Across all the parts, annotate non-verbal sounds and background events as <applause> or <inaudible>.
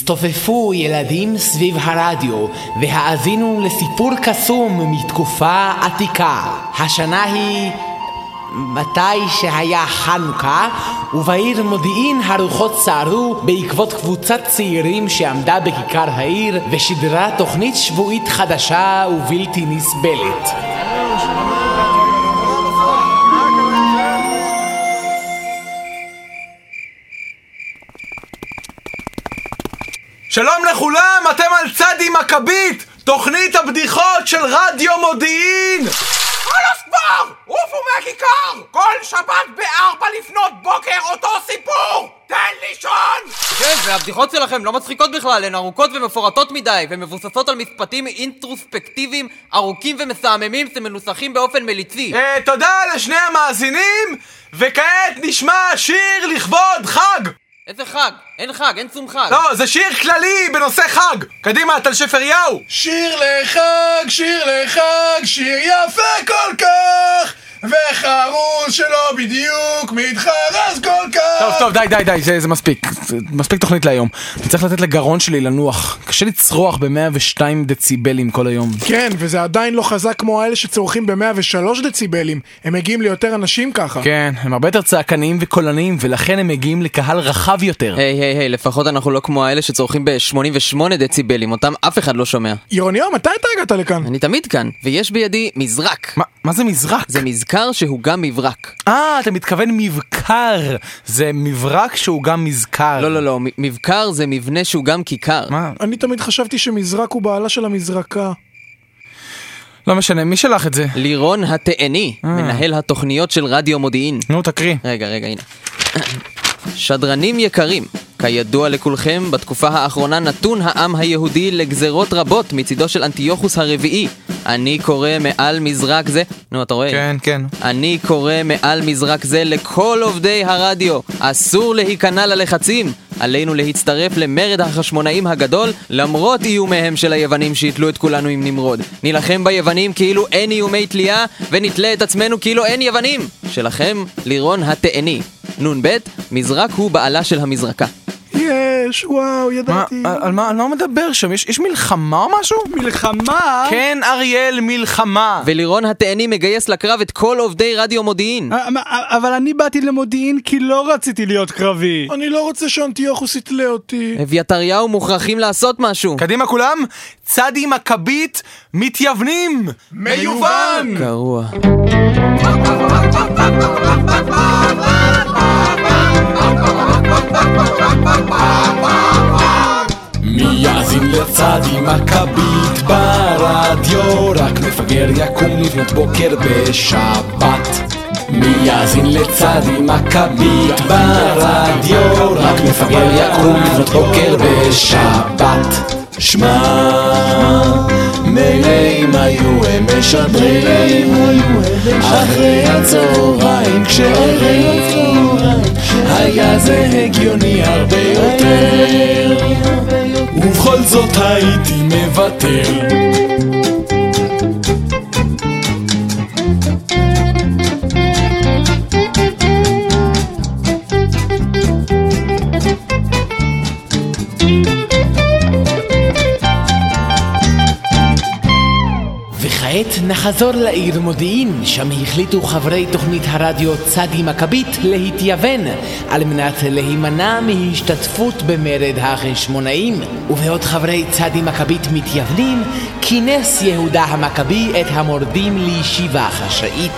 הצטופפו ילדים סביב הרדיו והאזינו לסיפור קסום מתקופה עתיקה. השנה היא מתי שהיה חנוכה, ובעיר מודיעין הרוחות סערו בעקבות קבוצת צעירים שעמדה בכיכר העיר ושידרה תוכנית שבועית חדשה ובלתי נסבלת. שלום לכולם, אתם על צדי מכבית, תוכנית הבדיחות של רדיו מודיעין! כל הספר! עופו מהכיכר! כל שבת בארבע לפנות בוקר אותו סיפור! תן לישון! כן, והבדיחות שלכם לא מצחיקות בכלל, הן ארוכות ומפורטות מדי, ומבוססות על משפטים אינטרוספקטיביים ארוכים ומסעממים שמנוסחים באופן מליצי. אה, תודה לשני המאזינים, וכעת נשמע שיר לכבוד חג! איזה חג? אין חג, אין שום חג. לא, זה שיר כללי בנושא חג! קדימה, טל שפריהו! שיר לחג, שיר לחג, שיר יפה כל כך, וחרוס שלא בדיוק מתחרז כל כך. טוב, טוב, די, די, די, זה, זה מספיק. זה מספיק תוכנית להיום. אני צריך לתת לגרון שלי לנוח. קשה לצרוח ב-102 דציבלים כל היום. כן, וזה עדיין לא חזק כמו האלה שצורכים ב-103 דציבלים. הם מגיעים ליותר אנשים ככה. כן, הם הרבה יותר צעקניים וקולניים, ולכן הם מגיעים לקהל רחב יותר. היי, היי, היי, לפחות אנחנו לא כמו האלה שצורכים ב-88 דציבלים, אותם אף אחד לא שומע. ירוניהו, מתי אתה הגעת לכאן? אני תמיד כאן, ויש בידי מזרק. מה, מה זה מזרק? זה מזכר שהוא גם מברק. אה, אתה מתכוון מבקר. זה מברק שהוא גם מזכר. לא, לא, לא, מ- מבקר זה מבנה שהוא גם כיכר. מה? אני תמיד חשבתי שמזרק הוא בעלה של המזרקה. לא משנה, מי שלח את זה? לירון התאני, אה. מנהל התוכניות של רדיו מודיעין. נו, תקריא. רגע, רגע, הנה. שדרנים יקרים, כידוע לכולכם, בתקופה האחרונה נתון העם היהודי לגזרות רבות מצידו של אנטיוכוס הרביעי. אני קורא מעל מזרק זה... נו, אתה רואה? כן, כן. אני קורא מעל מזרק זה לכל עובדי הרדיו. אסור להיכנע ללחצים. עלינו להצטרף למרד החשמונאים הגדול, למרות איומיהם של היוונים שיתלו את כולנו עם נמרוד. נילחם ביוונים כאילו אין איומי תלייה, ונתלה את עצמנו כאילו אין יוונים! שלכם, לירון התאני. נ"ב, מזרק הוא בעלה של המזרקה. יש, וואו, ידעתי. מה, אה, על מה, על מה הוא מדבר שם? יש, יש מלחמה או משהו? מלחמה? כן, אריאל, מלחמה. ולירון התאני מגייס לקרב את כל עובדי רדיו מודיעין. אה, מה, אבל אני באתי למודיעין כי לא רציתי להיות קרבי. אני לא רוצה שאנטיוכוס יתלה אותי. אה, אביתריהו מוכרחים לעשות משהו. קדימה כולם, צדי מכבית, מתייוונים! מיובן! גרוע. מי יאזין לצדי מכבית ברדיו? רק מפגר יקום לבנות בוקר בשבת. מי יאזין לצדי מכבית ברדיו? רק מפגר יקום לבנות בוקר בשבת. שמע, מילא אם היו הם משדרים אחרי הצהריים כשערים היה זה הגיוני הרבה יותר ובכל זאת הייתי מוותר וכעת נחזור לעיר מודיעין, שם החליטו חברי תוכנית הרדיו צדי מכבית להתייוון על מנת להימנע מהשתתפות במרד החשמונאים. ובעוד חברי צדי מכבית מתייוונים, כינס יהודה המכבי את המורדים לישיבה חשאית.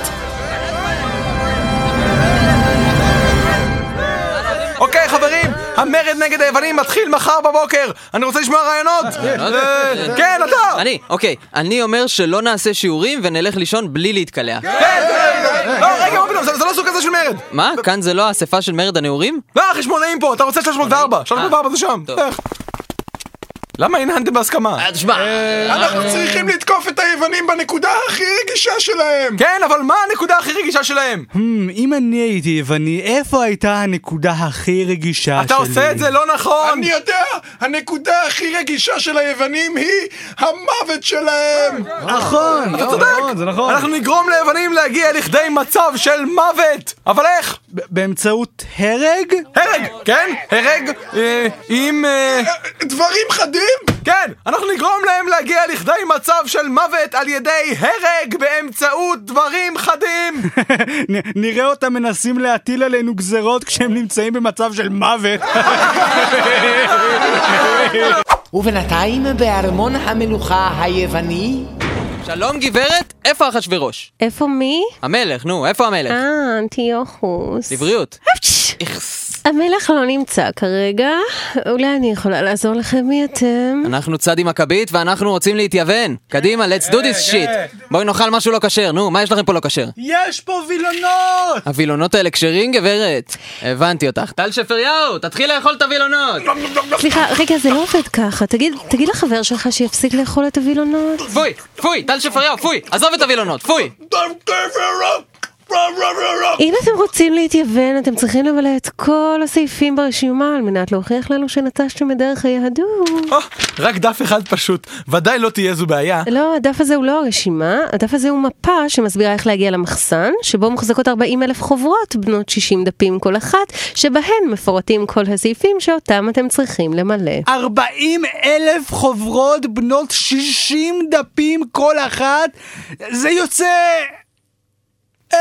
אוקיי, חברים, המרד נגד היוונים מתחיל מחר בבוקר! אני רוצה לשמוע רעיונות! אה, כן, אתה! אני, אוקיי, אני אומר שלא נעשה שיעורים ונלך לישון בלי להתקלח. כן, כן, לא, רגע, מה פתאום, זה זה לא סוג כזה של מרד! מה? כאן זה לא האספה של מרד הנעורים? אה, לא, החשמונאים פה, אתה רוצה 304! 304 זה שם! טוב. לך. למה הנהנתם בהסכמה? אה, תשמע, אה, אנחנו צריכים לתקוף את היוונים בנקודה הכי רגישה שלהם! כן, אבל מה הנקודה הכי רגישה שלהם? Hmm, אם אני הייתי יווני, איפה הייתה הנקודה הכי רגישה שלי? אה, אתה עושה את זה לא נכון! אני יודע, הנקודה הכי רגישה של היוונים היא המוות שלהם! אה, נכון, אתה זה נכון, צודק! זה נכון. אנחנו נגרום ליוונים להגיע לכדי מצב של מוות! אבל איך? ב- באמצעות הרג? הרג, כן? הרג אה, עם... אה, דברים חדים? כן, אנחנו נגרום להם להגיע לכדי מצב של מוות על ידי הרג באמצעות דברים חדים! נ- נראה אותם מנסים להטיל עלינו גזרות כשהם נמצאים במצב של מוות. ובינתיים בארמון המלוכה היווני שלום גברת, איפה אחשוורוש? איפה מי? המלך, נו, איפה המלך? אה, אנטיוכוס. לבריאות. אפצ'. המלך לא נמצא כרגע, אולי אני יכולה לעזור לכם מי אתם? אנחנו צדי מכבית ואנחנו רוצים להתייוון. קדימה, let's do this shit. בואי נאכל משהו לא כשר, נו, מה יש לכם פה לא כשר? יש פה וילונות! הווילונות האלה כשרים, גברת? הבנתי אותך. טל שפריהו, תתחיל לאכול את הווילונות! סליחה, רגע, זה לא עובד ככה. תגיד, תגיד לחבר שלך שיפסיק לאכול את הווילונות. פוי, פוי, טל שפריהו, פוי, עזוב את הווילונות, פוי! אם אתם רוצים להתייוון, אתם צריכים למלא את כל הסעיפים ברשימה על מנת להוכיח לנו שנטשתם את דרך היהדות. אה, רק דף אחד פשוט, ודאי לא תהיה זו בעיה. לא, הדף הזה הוא לא הרשימה, הדף הזה הוא מפה שמסבירה איך להגיע למחסן, שבו מוחזקות 40 אלף חוברות בנות 60 דפים כל אחת, שבהן מפורטים כל הסעיפים שאותם אתם צריכים למלא. 40 אלף חוברות בנות 60 דפים כל אחת? זה יוצא...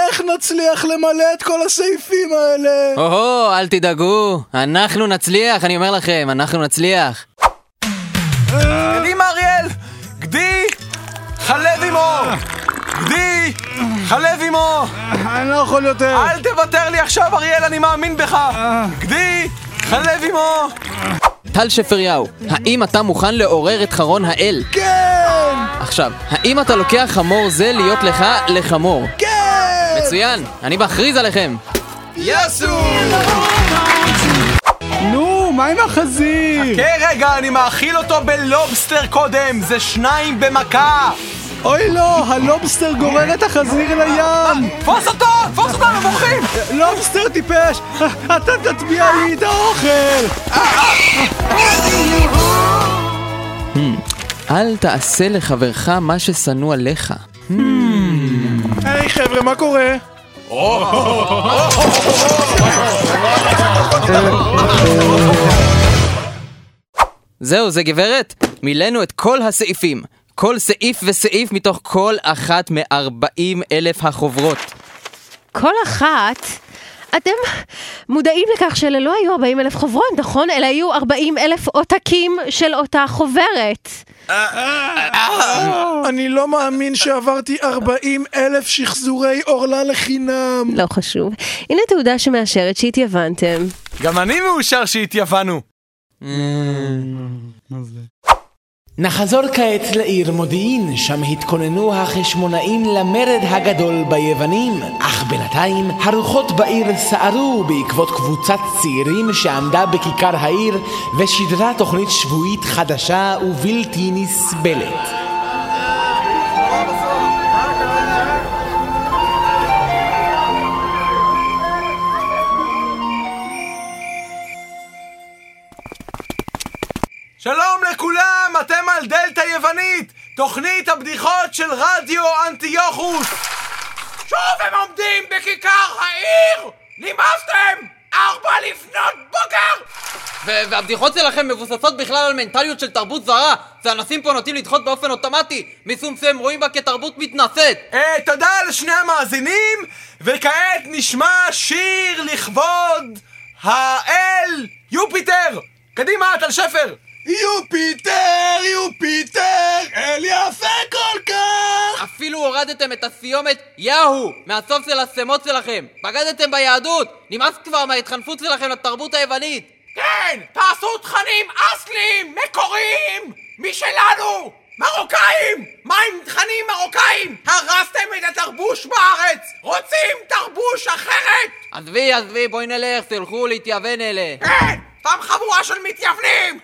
איך נצליח למלא את כל הסעיפים האלה? או-הו, אל תדאגו, אנחנו נצליח, אני אומר לכם, אנחנו נצליח. קדימה אריאל! גדי! חלב עמו! גדי! חלב עמו! אני לא יכול יותר. אל תוותר לי עכשיו אריאל, אני מאמין בך! גדי! חלב עמו! טל שפריהו, האם אתה מוכן לעורר את חרון האל? כן! עכשיו, האם אתה לוקח חמור זה להיות לך לחמור? כן! מצוין, אני מכריז עליכם. נו, מה עם החזיר? כן, רגע, אני מאכיל אותו בלובסטר קודם! זה שניים במכה! אוי לא, הלובסטר גורר את החזיר אל הים! תפוס אותו! תפוס אותו, אנחנו בורחים! לובסטר טיפש! אתה תטביע לי את האוכל! אל תעשה לחברך מה ששנוא עליך. היי חבר'ה, מה קורה? זהו, זה גברת? מילאנו את כל הסעיפים. כל סעיף וסעיף מתוך כל אחת מ-40 אלף החוברות. כל אחת, אתם מודעים לכך שאלה לא היו 40 אלף חוברות, נכון? אלה היו 40 אלף עותקים של אותה חוברת. אני לא מאמין שעברתי 40 אלף שחזורי עורלה לחינם. לא חשוב. הנה תעודה שמאשרת שהתייוונתם. גם אני מאושר שהתייוונו! נחזור כעת לעיר מודיעין, שם התכוננו החשמונאים למרד הגדול ביוונים, אך בינתיים הרוחות בעיר סערו בעקבות קבוצת צעירים שעמדה בכיכר העיר ושידרה תוכנית שבועית חדשה ובלתי נסבלת. שלום לכולם, אתם על דלתא יוונית, תוכנית הבדיחות של רדיו אנטיוכוס. שוב הם עומדים בכיכר העיר! נמאסתם! ארבע לפנות בוקר! והבדיחות שלכם מבוססות בכלל על מנטליות של תרבות זרה, שאנשים פה נוטים לדחות באופן אוטומטי, משום שהם רואים בה כתרבות מתנשאת. אה, תודה לשני המאזינים, וכעת נשמע שיר לכבוד האל יופיטר. קדימה, טל שפר. יופיטר, יופיטר, אל יפה כל כך! אפילו הורדתם את הסיומת יהו מהסוף של השמות שלכם. בגדתם ביהדות! נמאס כבר מההתחנפות שלכם לתרבות היוונית! כן! תעשו תכנים אסליים! מקוריים! משלנו! מרוקאים! מה עם תכנים מרוקאים? הרסתם את התרבוש בארץ! רוצים תרבוש אחרת! עזבי, עזבי, בואי נלך, תלכו להתייוון אלה. <laughs> כן! פעם חבורה של מתייוונים!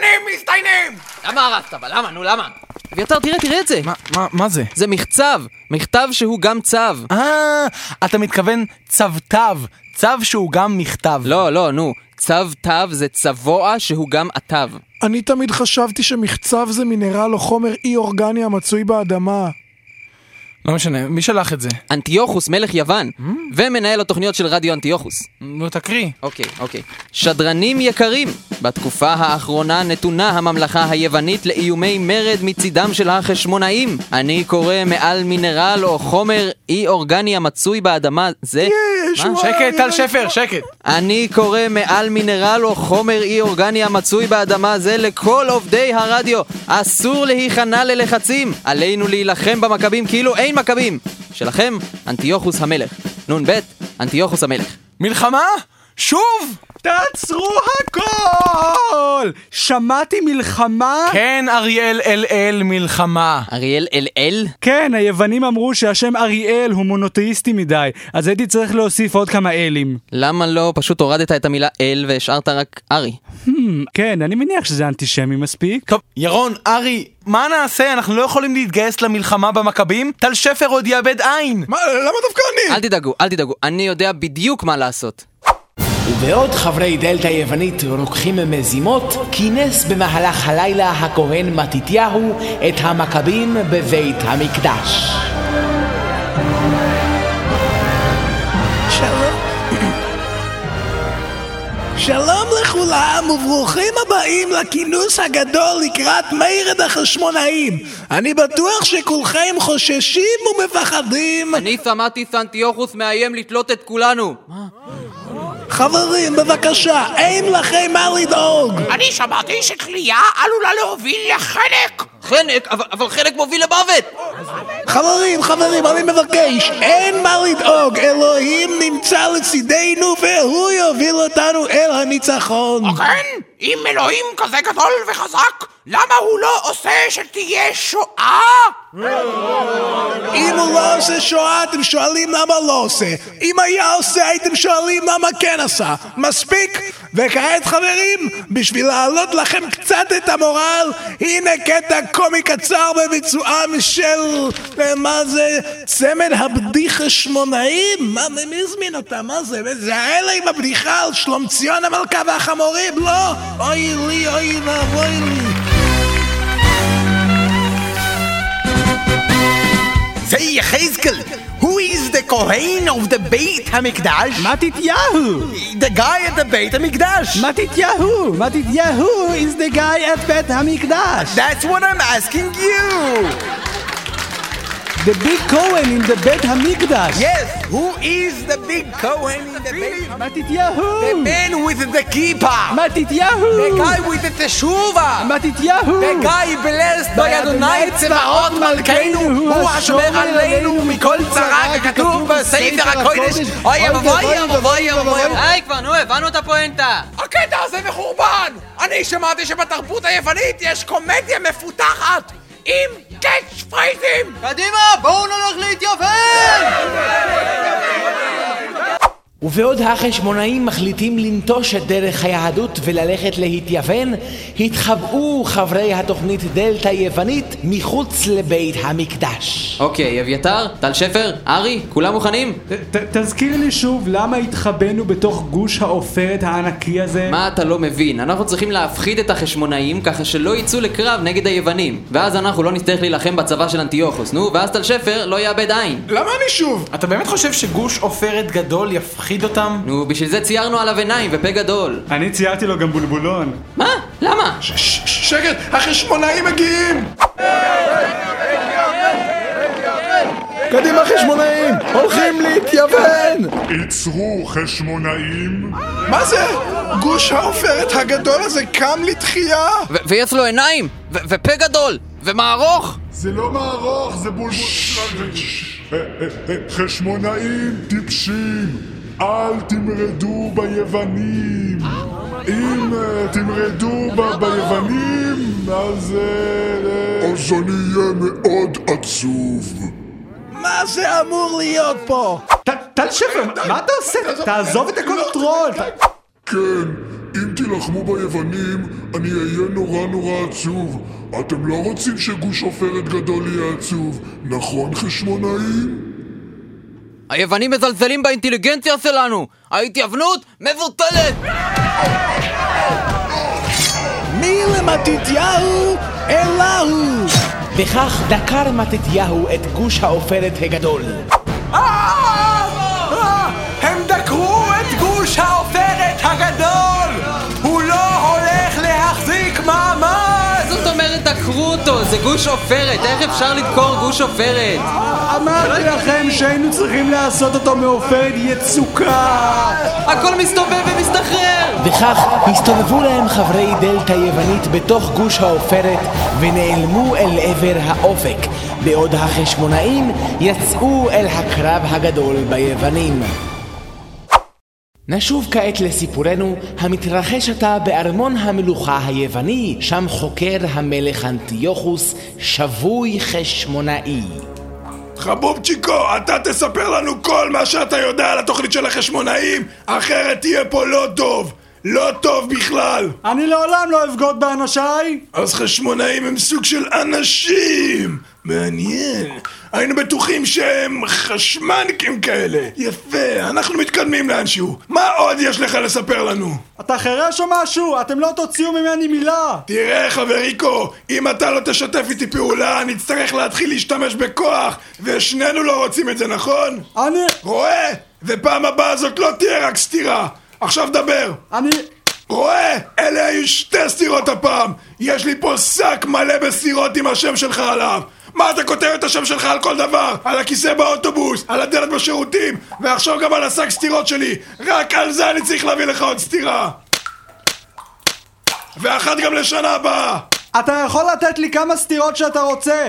מראיינים! למה הרסת? אבל למה? נו למה? אביתר, תראה, תראה את זה! מה, מה, מה זה? זה מחצב! מכתב שהוא גם צו! אה, אתה מתכוון צוותיו, צו שהוא גם מכתב. לא, לא, נו. צו תו זה צבוע שהוא גם עטב. אני תמיד חשבתי שמחצב זה מינרל או חומר אי-אורגני המצוי באדמה. לא משנה, מי שלח את זה? אנטיוכוס מלך יוון, ומנהל התוכניות של רדיו אנטיוכוס. Mm. נו, תקריא. אוקיי, אוקיי. שדרנים יקרים, בתקופה האחרונה נתונה הממלכה היוונית לאיומי מרד מצידם של החשמונאים. אני קורא מעל מינרל או חומר אי-אורגני המצוי באדמה זה... יש, שקט, אוקיי, טל שפר, שקט. אני קורא מעל מינרל או חומר אי-אורגני המצוי באדמה זה לכל עובדי הרדיו. אסור להיכנע ללחצים. עלינו להילחם במכבים כאילו אין מכבים. שלכם, אנטיוכוס המלך. נ"ב, אנטיוכוס המלך. מלחמה? שוב? תעצרו הכל! שמעתי מלחמה? כן, אריאל אל אל מלחמה. אריאל אל אל? כן, היוונים אמרו שהשם אריאל הוא מונותאיסטי מדי, אז הייתי צריך להוסיף עוד כמה אלים. למה לא פשוט הורדת את המילה אל והשארת רק ארי? Hmm, כן, אני מניח שזה אנטישמי מספיק. טוב, ירון, ארי, מה נעשה? אנחנו לא יכולים להתגייס למלחמה במכבים? טל שפר עוד יאבד עין! מה, למה דווקא אני? אל תדאגו, אל תדאגו, אני יודע בדיוק מה לעשות. ובעוד חברי דלתא היוונית רוקחים מזימות, כינס במהלך הלילה הכהן מתתיהו את המכבים בבית המקדש. שלום. שלום לכולם וברוכים הבאים לכינוס הגדול לקראת מרד החשמונאים. אני בטוח שכולכם חוששים ומפחדים. אני שמעתי סנטיוכוס מאיים לתלות את כולנו! חברים, בבקשה, אין לכם מה לדאוג. אני שמעתי שכליאה עלולה להוביל לחנק! חנק, אבל, אבל חנק מוביל למוות! חברים, חברים, אני מבקש, אין מה לדאוג. אלוהים נמצא לצידנו והוא יוביל אותנו אל הניצחון. כן? אם אלוהים כזה גדול וחזק, למה הוא לא עושה שתהיה שואה? אם הוא לא עושה שואה, אתם שואלים למה לא עושה. אם היה עושה, הייתם שואלים למה כן עשה. מספיק! וכעת חברים, בשביל להעלות לכם קצת את המורל, הנה קטע קומי קצר בביצועם של... אה, מה זה? צמד הבדיח השמונאים? מה, מי- מי הזמין אותם? מה זה? זה האלה עם הבדיחה על שלומציון המלכה והחמורים? לא! אוי לי, אוי ואבוי לי. זה יחזקאל! Who is the Kohen of the בית המקדש? מתתיהו! The guy at the בית המקדש! מתתיהו! מתתיהו is the guy at בית המקדש! That's what I'm asking you! The big Cohen in the בית המקדש! Yes, who is the big Kohen in the בית? מתתיהו! The man with the kippah! מתתיהו! The guy with the teshuvah! מתתיהו! The guy blessed by Adonai צבאות מלכנו! הוא השומר עלינו מכל צרה, ככתוב בספר הקודש! אוי אבוי אבוי אבוי אבוי! די כבר, נו, הבנו את הפואנטה! הקטע הזה אוקיי, מחורבן! אני שמעתי שבתרבות היוונית יש קומדיה מפותחת עם קאץ' פרייזים! קדימה, בואו נלך להתייוון! ובעוד החשמונאים מחליטים לנטוש את דרך היהדות וללכת להתייוון, התחבאו חברי התוכנית דלתא יוונית מחוץ לבית המקדש. אוקיי, אביתר, טל שפר, ארי, כולם מוכנים? ת- תזכיר לי שוב למה התחבאנו בתוך גוש העופרת הענקי הזה? מה אתה לא מבין? אנחנו צריכים להפחיד את החשמונאים ככה שלא יצאו לקרב נגד היוונים. ואז אנחנו לא נצטרך להילחם בצבא של אנטיוכוס, נו, ואז טל שפר לא יאבד עין. למה אני שוב? אתה באמת חושב שגוש עופרת גדול יפחיד אותם? נו, בשביל זה ציירנו עליו עיניים ופה גדול. אני ציירתי לו גם בולבולון. מה? למה? ש- ש- שקט, החשמונאים מגיעים! קדימה חשמונאים, הולכים להתייוון! עצרו חשמונאים, מה זה? גוש העופרת הגדול הזה קם לתחייה! ו- ויש לו עיניים! ו- ופה גדול! ומערוך! זה לא מערוך, זה בולבול... אה, אה, אה, חשמונאים טיפשים, אל תמרדו ביוונים. אם אה, תמרדו ב- ביוונים, אז... אה, אז אני אהיה מאוד עצוב. מה זה אמור להיות פה? טל שפר, מה אתה עושה? תעזוב את הקונטרול! כן, אם תילחמו ביוונים, אני אהיה נורא נורא עצוב. אתם לא רוצים שגוש עופרת גדול יהיה עצוב, נכון חשמונאים? היוונים מזלזלים באינטליגנציה שלנו! ההתייוונות מבוטלת! מי למתתיהו אלא הוא! וכך דקר מתתיהו את גוש העופרת הגדול. אה, הם דקרו את גוש העופרת הגדול! הוא לא הולך להחזיק מעמד! מה זאת אומרת דקרו אותו? זה גוש עופרת, איך אפשר לדקור גוש עופרת? לא, אמרתי לכם שהיינו צריכים לעשות אותו מעופרת יצוקה! הכל מסתובב ומסתחרר! וכך הסתובבו להם חברי דלתא יוונית בתוך גוש העופרת ונעלמו אל עבר האופק, בעוד החשמונאים יצאו אל הקרב הגדול ביוונים. נשוב כעת לסיפורנו המתרחש עתה בארמון המלוכה היווני, שם חוקר המלך אנטיוכוס שבוי חשמונאי. חבובצ'יקו, אתה תספר לנו כל מה שאתה יודע על התוכנית של החשמונאים, אחרת תהיה פה לא טוב. לא טוב בכלל. אני לעולם לא אבגוד באנשיי! אז חשמונאים הם סוג של אנשים! מעניין. היינו בטוחים שהם חשמנקים כאלה. יפה, אנחנו מתקדמים לאנשהו. מה עוד יש לך לספר לנו? אתה חירש או משהו? אתם לא תוציאו ממני מילה! תראה, חבריקו, אם אתה לא תשתף איתי פעולה, אני אצטרך להתחיל להשתמש בכוח, ושנינו לא רוצים את זה, נכון? אני... רואה? ופעם הבאה זאת לא תהיה רק סתירה. עכשיו דבר. אני... רואה? אלה היו שתי סתירות הפעם! יש לי פה שק מלא בסתירות עם השם שלך עליו! מה אתה כותב את השם שלך על כל דבר? על הכיסא באוטובוס, על הדלת בשירותים, ועכשיו גם על השק סתירות שלי! רק על זה אני צריך להביא לך עוד סתירה! ואחת גם לשנה הבאה! אתה יכול לתת לי כמה סטירות שאתה רוצה!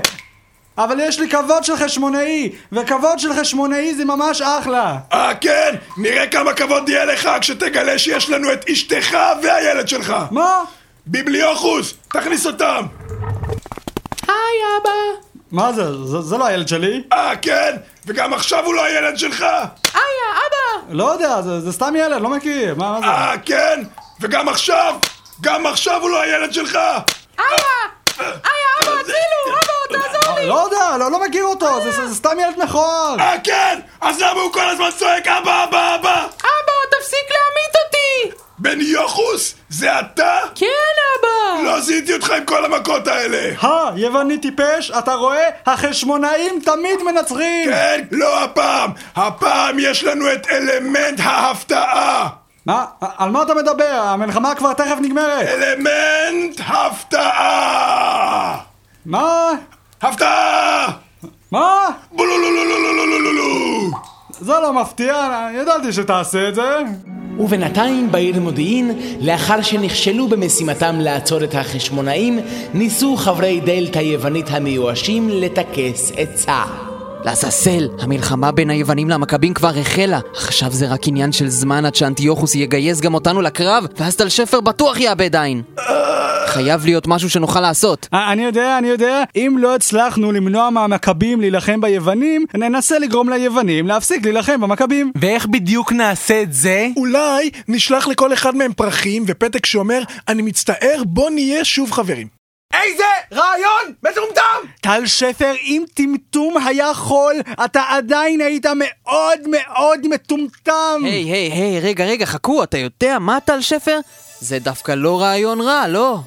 אבל יש לי כבוד של חשמונאי, וכבוד של חשמונאי זה ממש אחלה! אה, כן? נראה כמה כבוד יהיה לך כשתגלה שיש לנו את אשתך והילד שלך! מה? ביבליוכוס, תכניס אותם! היי אבא! מה זה? זה, זה לא הילד שלי? אה, כן? וגם עכשיו הוא לא הילד שלך? איה, אבא! לא יודע, זה, זה סתם ילד, לא מכיר, מה, מה זה? אה, כן? וגם עכשיו? גם עכשיו הוא לא הילד שלך! איה! איה, אבא, הצילו! אבא, תעזור לי! לא יודע, לא, לא מכיר אותו, זה, זה, זה סתם ילד נכון. מכוער! אה, כן? אז למה הוא כל הזמן צועק אבא, אבא, אבא? אבא, תפסיק להמית אותי! בן יוחוס, זה אתה? כן, אבא! לא זיהיתי אותך עם כל המכות האלה! הא, יווני טיפש, אתה רואה? החשמונאים תמיד מנצחים! כן, לא הפעם! הפעם יש לנו את אלמנט ההפתעה! מה? על מה אתה מדבר? המלחמה כבר תכף נגמרת! אלמנט הפתעה! מה? הפתעה! מה? בולולולולולולולולו! זה לא מפתיע, אני ידעתי שתעשה את זה. ובינתיים בעיר מודיעין, לאחר שנכשלו במשימתם לעצור את החשמונאים, ניסו חברי דלתא יוונית המיואשים לטכס עצה. לעזאזל, המלחמה בין היוונים למכבים כבר החלה. עכשיו זה רק עניין של זמן עד שאנטיוכוס יגייס גם אותנו לקרב, ואז טל שפר בטוח יאבד עין. חייב להיות משהו שנוכל לעשות. אה, אני יודע, אני יודע, אם לא הצלחנו למנוע מהמכבים להילחם ביוונים, ננסה לגרום ליוונים להפסיק להילחם במכבים. ואיך בדיוק נעשה את זה? אולי נשלח לכל אחד מהם פרחים ופתק שאומר, אני מצטער, בוא נהיה שוב חברים. איזה רעיון מטומטם! טל שפר, אם טמטום היה חול, אתה עדיין היית מאוד מאוד מטומטם! היי, היי, היי, רגע, רגע, חכו, אתה יודע מה טל שפר? זה דווקא לא רעיון רע, לא.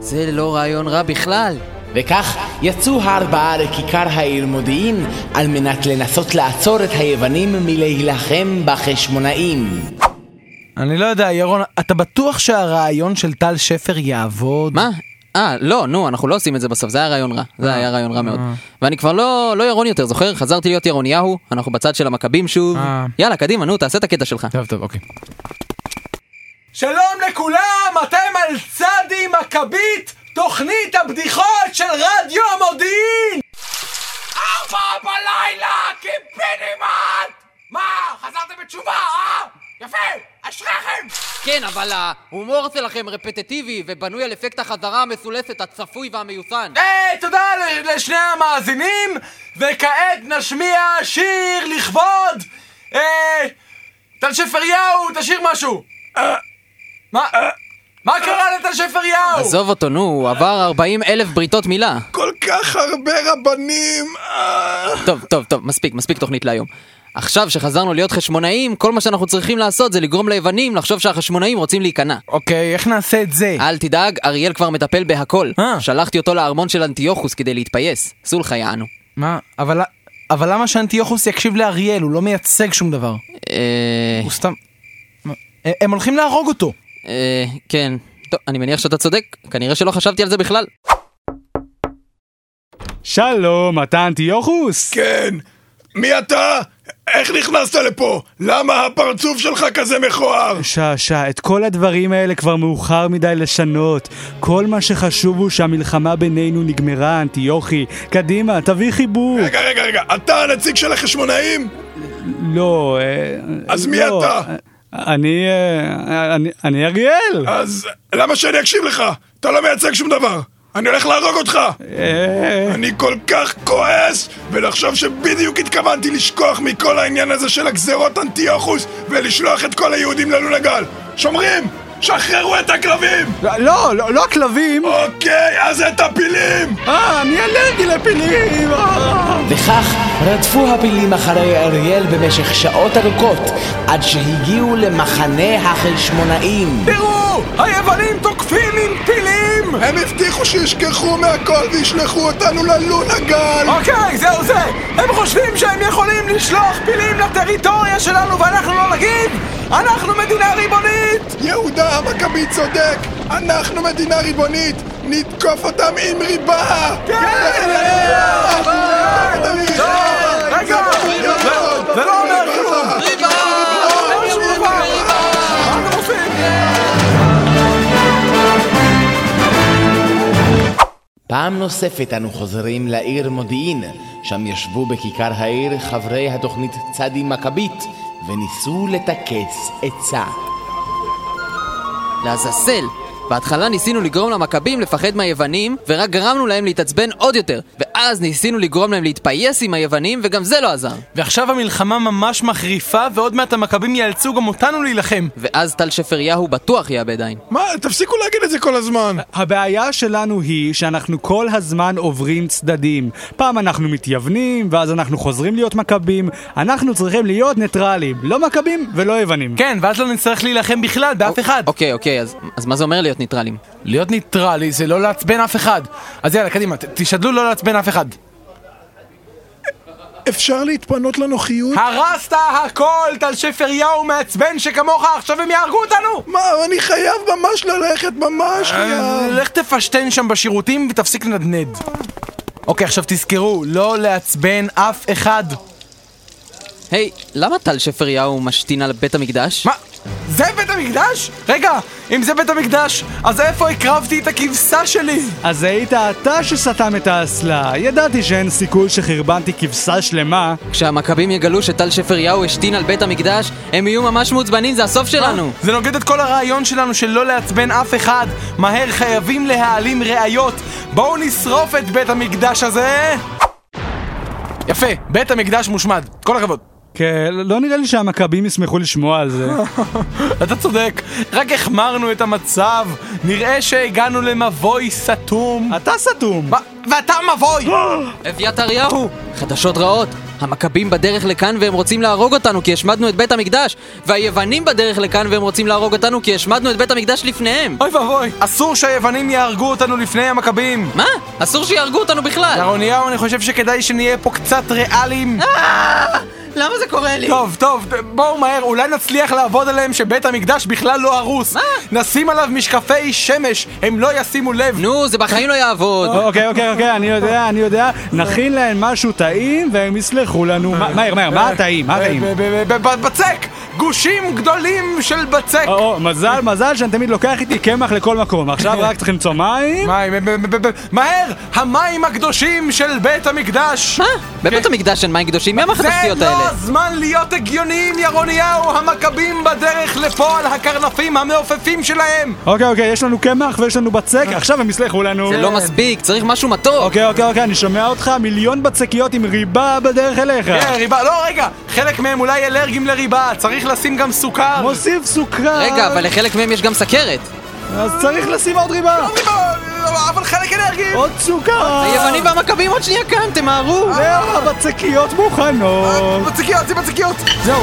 זה לא רעיון רע בכלל. וכך יצאו הארבעה לכיכר העיר מודיעין על מנת לנסות לעצור את היוונים מלהילחם בחשמונאים. אני לא יודע, ירון, אתה בטוח שהרעיון של טל שפר יעבוד? מה? אה, לא, נו, אנחנו לא עושים את זה בסוף, זה היה רעיון רע. זה היה רעיון רע מאוד. ואני כבר לא, לא ירון יותר, זוכר? חזרתי להיות ירוניהו, אנחנו בצד של המכבים שוב. אה. יאללה, קדימה, נו, תעשה את הקטע שלך. טוב, טוב, אוקיי. שלום לכולם, אתם על צדי מכבית, תוכנית הבדיחות של רדיו המודיעין! ארבע בלילה, קיפינימט! מה, חזרתם בתשובה, אה? יפה, אשריכם! כן, אבל ההומור שלכם רפטטיבי ובנוי על אפקט החזרה המסולסת, הצפוי והמיוסן. היי, אה, תודה ל- לשני המאזינים, וכעת נשמיע שיר לכבוד! אה... טל שפריהו, תשאיר משהו! מה? מה קרה לתל שפר יאו? עזוב אותו, נו, הוא עבר 40 אלף בריתות מילה. כל כך הרבה רבנים! אה. טוב, טוב, טוב, מספיק, מספיק תוכנית להיום. עכשיו שחזרנו להיות חשמונאים, כל מה שאנחנו צריכים לעשות זה לגרום ליוונים לחשוב שהחשמונאים רוצים להיכנע. אוקיי, איך נעשה את זה? אל תדאג, אריאל כבר מטפל בהכל. אה. שלחתי אותו לארמון של אנטיוכוס כדי להתפייס. סולחה יענו. מה? אבל... אבל למה שאנטיוכוס יקשיב לאריאל? הוא לא מייצג שום דבר. אה... הוא סתם... מה? אה, הם הולכים להרוג אותו. אה... כן. טוב, אני מניח שאתה צודק, כנראה שלא חשבתי על זה בכלל. שלום, אתה אנטיוכוס? כן. מי אתה? איך נכנסת לפה? למה הפרצוף שלך כזה מכוער? שעשע, את כל הדברים האלה כבר מאוחר מדי לשנות. כל מה שחשוב הוא שהמלחמה בינינו נגמרה, אנטיוכי. קדימה, תביא חיבור. רגע, רגע, רגע, אתה הנציג של החשמונאים? לא, אה, אז מי לא. אתה? אני... אה, אני- אני אריאל! אז למה שאני אקשיב לך? אתה לא מייצג שום דבר. אני הולך להרוג אותך! אני כל כך כועס, ולחשוב שבדיוק התכוונתי לשכוח מכל העניין הזה של הגזרות אנטיוכוס ולשלוח את כל היהודים ללול הגל. שומרים! שחררו את הכלבים! לא, לא, לא הכלבים! אוקיי, אז את הפילים! אה, אני אלרגי לפילים! אה. וכך רדפו הפילים אחרי אריאל במשך שעות ארוכות, עד שהגיעו למחנה החשמונאים. תראו! היוונים תוקפים עם פילים! הם הבטיחו שישכחו מהכל וישלחו אותנו ללונה גל! אוקיי, זהו זה! הם חושבים שהם יכולים לשלוח פילים לטריטוריה שלנו ואנחנו לא נגיב? אנחנו מדינה ריבונית! יהודה המכבי צודק! אנחנו מדינה ריבונית! נתקוף אותם עם ריבה! רגע! זה לא אומר כלום! פעם נוספת אנו חוזרים לעיר מודיעין, שם ישבו בכיכר העיר חברי התוכנית צדי מכבית, וניסו לטכס עצה. לעזאזל! בהתחלה ניסינו לגרום למכבים לפחד מהיוונים, ורק גרמנו להם להתעצבן עוד יותר. ואז ניסינו לגרום להם להתפייס עם היוונים, וגם זה לא עזר. ועכשיו המלחמה ממש מחריפה, ועוד מעט המכבים יאלצו גם אותנו להילחם. ואז טל שפריהו בטוח יאבד עין. מה, תפסיקו להגיד את זה כל הזמן! הבעיה שלנו היא שאנחנו כל הזמן עוברים צדדים. פעם אנחנו מתייוונים, ואז אנחנו חוזרים להיות מכבים. אנחנו צריכים להיות ניטרלים, לא מכבים ולא יוונים. כן, ואז לא נצטרך להילחם בכלל באף אחד. אוקיי, אוקיי, אז, אז מה זה אומר להיות ניטרלים? להיות ניטרלי זה לא לעצבן אף אחד. אז יאללה, קדימה, ת- תשתדלו לא לעצבן אף אחד. אפשר להתפנות לנוחיות? הרסת הכל, טל שפר יאו מעצבן שכמוך, עכשיו הם יהרגו אותנו! מה, אני חייב ממש ללכת, ממש חייב! לך תפשטן שם בשירותים ותפסיק לנדנד. אוקיי, עכשיו תזכרו, לא לעצבן אף אחד. היי, למה טל שפריהו משתין על בית המקדש? מה? זה בית המקדש? רגע, אם זה בית המקדש, אז איפה הקרבתי את הכבשה שלי? אז היית אתה שסתם את האסלה. ידעתי שאין סיכוי שחרבנתי כבשה שלמה. כשהמכבים יגלו שטל שפריהו השתין על בית המקדש, הם יהיו ממש מעוצבנים, זה הסוף שלנו! זה נוגד את כל הרעיון שלנו של לא לעצבן אף אחד. מהר חייבים להעלים ראיות. בואו נשרוף את בית המקדש הזה! יפה, בית המקדש מושמד. כל הכבוד. כן, לא נראה לי שהמכבים ישמחו לשמוע <laughs> על זה. אתה צודק, רק החמרנו את המצב. נראה שהגענו למבוי סתום. אתה סתום! מה? ואתה מבוי! אביתריהו! חדשות רעות! המכבים בדרך לכאן והם רוצים להרוג אותנו כי השמדנו את בית המקדש! והיוונים בדרך לכאן והם רוצים להרוג אותנו כי השמדנו את בית המקדש לפניהם! אוי ואבוי, אסור שהיוונים יהרגו אותנו לפני המכבים. מה? אסור שיהרגו אותנו בכלל! ירוניהו, אני חושב שכדאי שנהיה פה קצת ריאליים. למה זה קורה לי? טוב, טוב, בואו מהר, אולי נצליח לעבוד עליהם שבית המקדש בכלל לא הרוס. מה? נשים עליו משקפי שמש, הם לא ישימו לב. נו, זה בחיים לא יעבוד! אוקיי, אוקיי, אוקיי, אני יודע, אני יודע. נכין להם משהו טעים והם יסלחו לנו. מה- מהר, מהר, מה הטעים? מה הטעים? אה, ב- ב- ב- ב- בצק! גושים גדולים של בצק! או, או, מזל, מזל שאני תמיד לוקח איתי קמח לכל מקום. <laughs> עכשיו רק צריך למצוא מים. מים, ב- ב- ב- ב- מהר! המים הקדושים של בית המקדש! מה? בבית המקדש אין מים קדושים? מי אמר לך את השטויות זה לא האלה? הזמן להיות הגיוניים, ירוניהו! המכבים בדרך לפה על הקרנפים המעופפים שלהם! אה. אוקיי, אוקיי, יש לנו קמח ויש לנו בצק, עכשיו הם יסלחו לנו. זה כן. לא מספיק, צריך משהו מתוק! אוקיי, אוקיי, אוקיי, אני שומע אותך, מיליון בצקיות עם ריבה בדרך אליך. כן, ריבה, לא, רגע! חלק מהם אולי אלרגיים לריבה, צריך לשים גם סוכר. מוסיף סוכר. אוקיי. רגע, אבל לחלק מהם יש גם סכרת. אה. אז צריך לשים עוד ריבה. לא, אבל חלק אנרגי! עוד סוכר. היוונים והמכבים עוד שנייה כאן, תמהרו! זהו, הבצקיות מוכנות. בצקיות, זה בצקיות! זהו.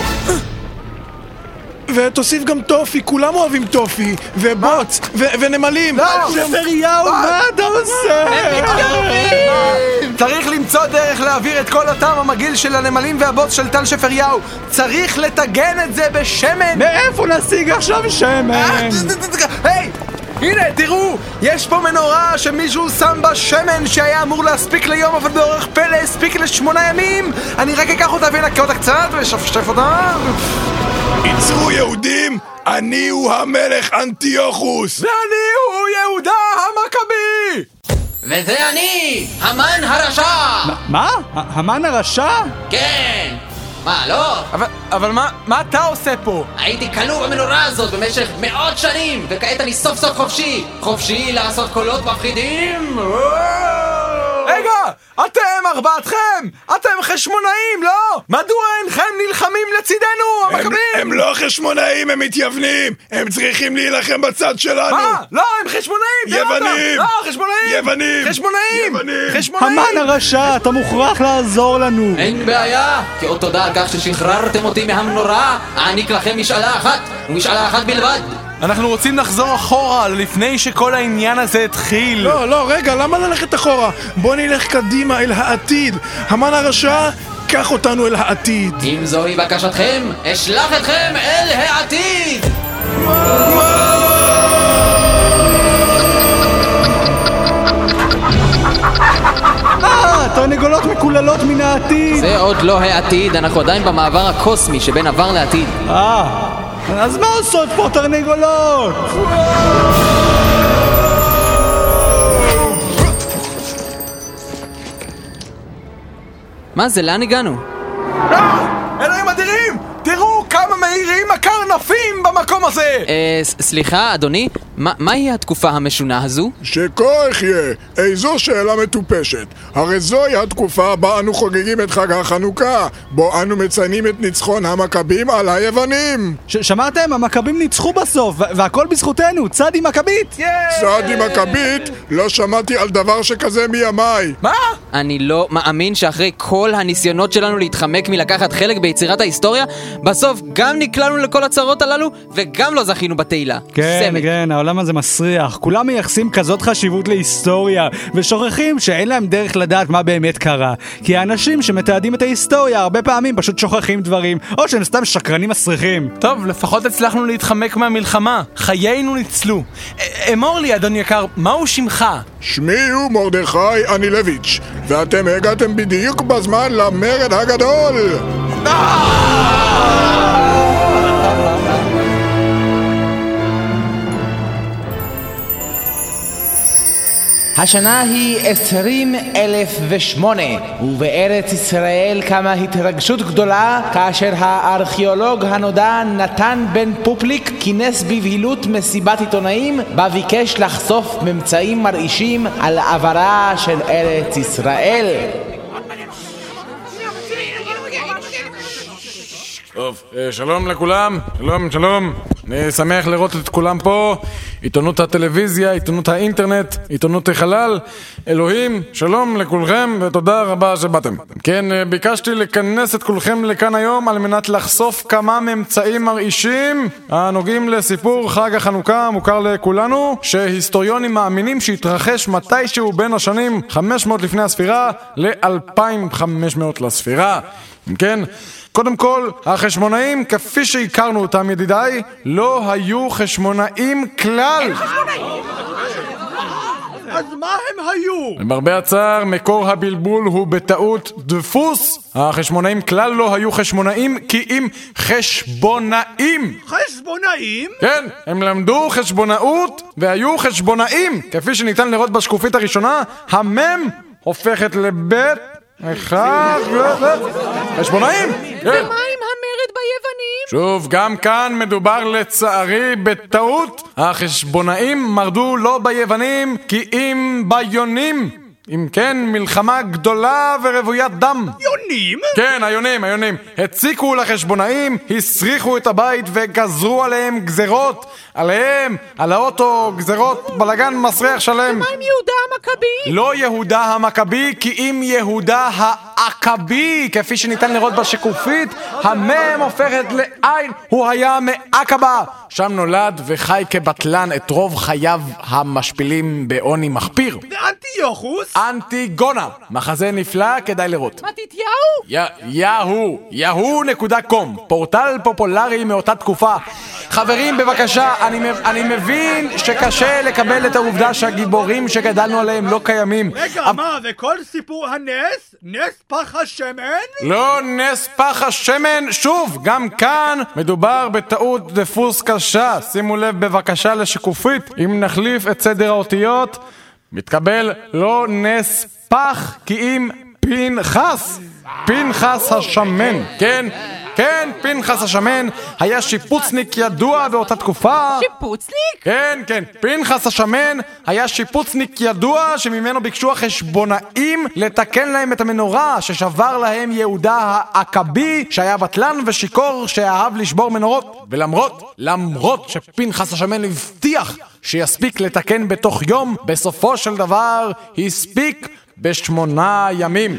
ותוסיף גם טופי, כולם אוהבים טופי, ובוץ, ו- ונמלים. זכריהו, מה אתה עושה? צריך למצוא דרך להעביר את כל הטעם המגעיל של הנמלים והבוץ של טל שפריהו. צריך לטגן את זה בשמן! אה, מאיפה נשיג עכשיו אה, שמן? היי! הנה, תראו! יש פה מנורה שמישהו שם בה שמן שהיה אמור להספיק ליום, אבל באורך פלא הספיק לשמונה ימים! אני רק אקח אותה ואנקה אותה קצת ואשפשף אותה! עצרו יהודים, אני הוא המלך אנטיוכוס! ואני הוא יהודה אה, המכבי! וזה אני, המן הרשע! מה? המן הרשע? כן! מה, לא? אבל, אבל מה, מה אתה עושה פה? הייתי כלוא במנורה הזאת במשך מאות שנים, וכעת אני סוף סוף חופשי! חופשי לעשות קולות מפחידים! רגע! אתם ארבעתכם! אתם חשמונאים, לא? מדוע אינכם נלחמים לצידנו, הם, המכבים? הם לא חשמונאים, הם מתייוונים! הם צריכים להילחם בצד שלנו! מה? לא, הם חשמונאים! תראה אותם. יוונים! לא, חשמונאים! יוונים! חשמונאים! יוונים! חשמונאים! המן הרשע, אתה מוכרח לעזור לנו. אין בעיה, כאות תודה על כך ששחררתם אותי מהמנורה, אעניק לכם משאלה אחת, ומשאלה אחת בלבד. אנחנו רוצים לחזור אחורה לפני שכל העניין הזה התחיל. לא, לא, רגע, למה ללכת אחורה? בוא נלך קדימה אל העתיד. המן הרשע, קח אותנו אל העתיד. אם זוהי בקשתכם, אשלח אתכם אל העתיד! אה, תרנגולות מקוללות מן העתיד. זה עוד לא העתיד, אנחנו עדיין במעבר הקוסמי שבין עבר לעתיד. אה, אז מה עושות פה תרנגולות? מה זה, לאן הגענו? אלוהים אדירים! תראו כמה מהירים הקרנפים במקום הזה! אה, ס- סליחה, אדוני, מה- מהי התקופה המשונה הזו? שכה אחיה, איזו שאלה מטופשת. הרי זוהי התקופה בה אנו חוגגים את חג החנוכה, בו אנו מציינים את ניצחון המכבים על היוונים. ש- שמעתם? המכבים ניצחו בסוף, וה- והכל בזכותנו, צדי מכבית! צעדי מכבית, לא שמעתי על דבר שכזה מימיי. מה? אני לא מאמין שאחרי כל הניסיונות שלנו להתחמק מלקחת חלק ביצירת ההיסטוריה, בסוף גם נקלענו לכל הצרות הללו, וגם לא זכינו בתהילה. כן, סמל. כן, העולם הזה מסריח. כולם מייחסים כזאת חשיבות להיסטוריה, ושוכחים שאין להם דרך לדעת מה באמת קרה. כי האנשים שמתעדים את ההיסטוריה הרבה פעמים פשוט שוכחים דברים, או שהם סתם שקרנים מסריחים. טוב, לפחות הצלחנו להתחמק מהמלחמה. חיינו ניצלו. א- אמור לי, אדון יקר, מהו שמך? שמי הוא מרדכי אנילביץ', ואתם הגעתם בדיוק בזמן למרד הגדול! השנה היא 20,008, ובארץ ישראל קמה התרגשות גדולה כאשר הארכיאולוג הנודע נתן בן פופליק כינס בבהילות מסיבת עיתונאים בה ביקש לחשוף ממצאים מרעישים על עברה של ארץ ישראל. טוב, אה, שלום לכולם, שלום, שלום. אני שמח לראות את כולם פה. עיתונות הטלוויזיה, עיתונות האינטרנט, עיתונות החלל. אלוהים, שלום לכולכם ותודה רבה שבאתם. כן, אה, ביקשתי לכנס את כולכם לכאן היום על מנת לחשוף כמה ממצאים מרעישים הנוגעים לסיפור חג החנוכה המוכר לכולנו, שהיסטוריונים מאמינים שהתרחש מתישהו בין השנים 500 לפני הספירה ל-2500 לספירה. אם כן, קודם כל, החשמונאים, כפי שהכרנו אותם, ידידיי, לא היו חשמונאים כלל. אז מה הם היו? למרבה הצער, מקור הבלבול הוא בטעות דפוס. החשמונאים כלל לא היו חשמונאים, כי אם חשבונאים. חשבונאים? כן, הם למדו חשבונאות והיו חשבונאים. כפי שניתן לראות בשקופית הראשונה, המם הופכת לבית... אחד, חשבונאים! כן. עם המרד ביוונים? שוב, גם כאן מדובר לצערי בטעות. החשבונאים מרדו לא ביוונים, כי אם ביונים. אם כן, מלחמה גדולה ורוויית דם. יונים? כן, היונים, היונים. הציקו לחשבונאים, הסריחו את הבית וגזרו עליהם גזרות. עליהם, על האוטו, גזרות, בלגן מסריח שלם. מה עם יהודה המכבי? לא יהודה המכבי, כי אם יהודה העכבי, כפי שניתן לראות בשקופית, המם הופכת לעין, הוא היה מעקבה. שם נולד וחי כבטלן את רוב חייו המשפילים בעוני מחפיר. ואנטיוכוס? אנטיגונה, מחזה נפלא, כדאי לראות. מתתיהו? יא- יהו, יהו נקודה קום, פורטל פופולרי מאותה תקופה. חברים, בבקשה, אני, מב- אני מבין שקשה לקבל את העובדה שהגיבורים שגדלנו עליהם לא קיימים. רגע, מה, וכל סיפור הנס? נס פח השמן? לא נס פח השמן, שוב, גם כאן מדובר בטעות דפוס קשה. שימו לב בבקשה לשקופית, אם נחליף את סדר האותיות, מתקבל לא נס פח, כי אם פנחס, פנחס השמן, כן? כן, פנחס השמן היה שיפוצניק ידוע באותה תקופה. שיפוצניק? כן, כן. פנחס השמן היה שיפוצניק ידוע שממנו ביקשו החשבונאים לתקן להם את המנורה ששבר להם יהודה העכבי שהיה בטלן ושיכור שאהב לשבור מנורות. ולמרות, למרות שפנחס השמן הבטיח שיספיק לתקן בתוך יום, בסופו של דבר הספיק בשמונה ימים.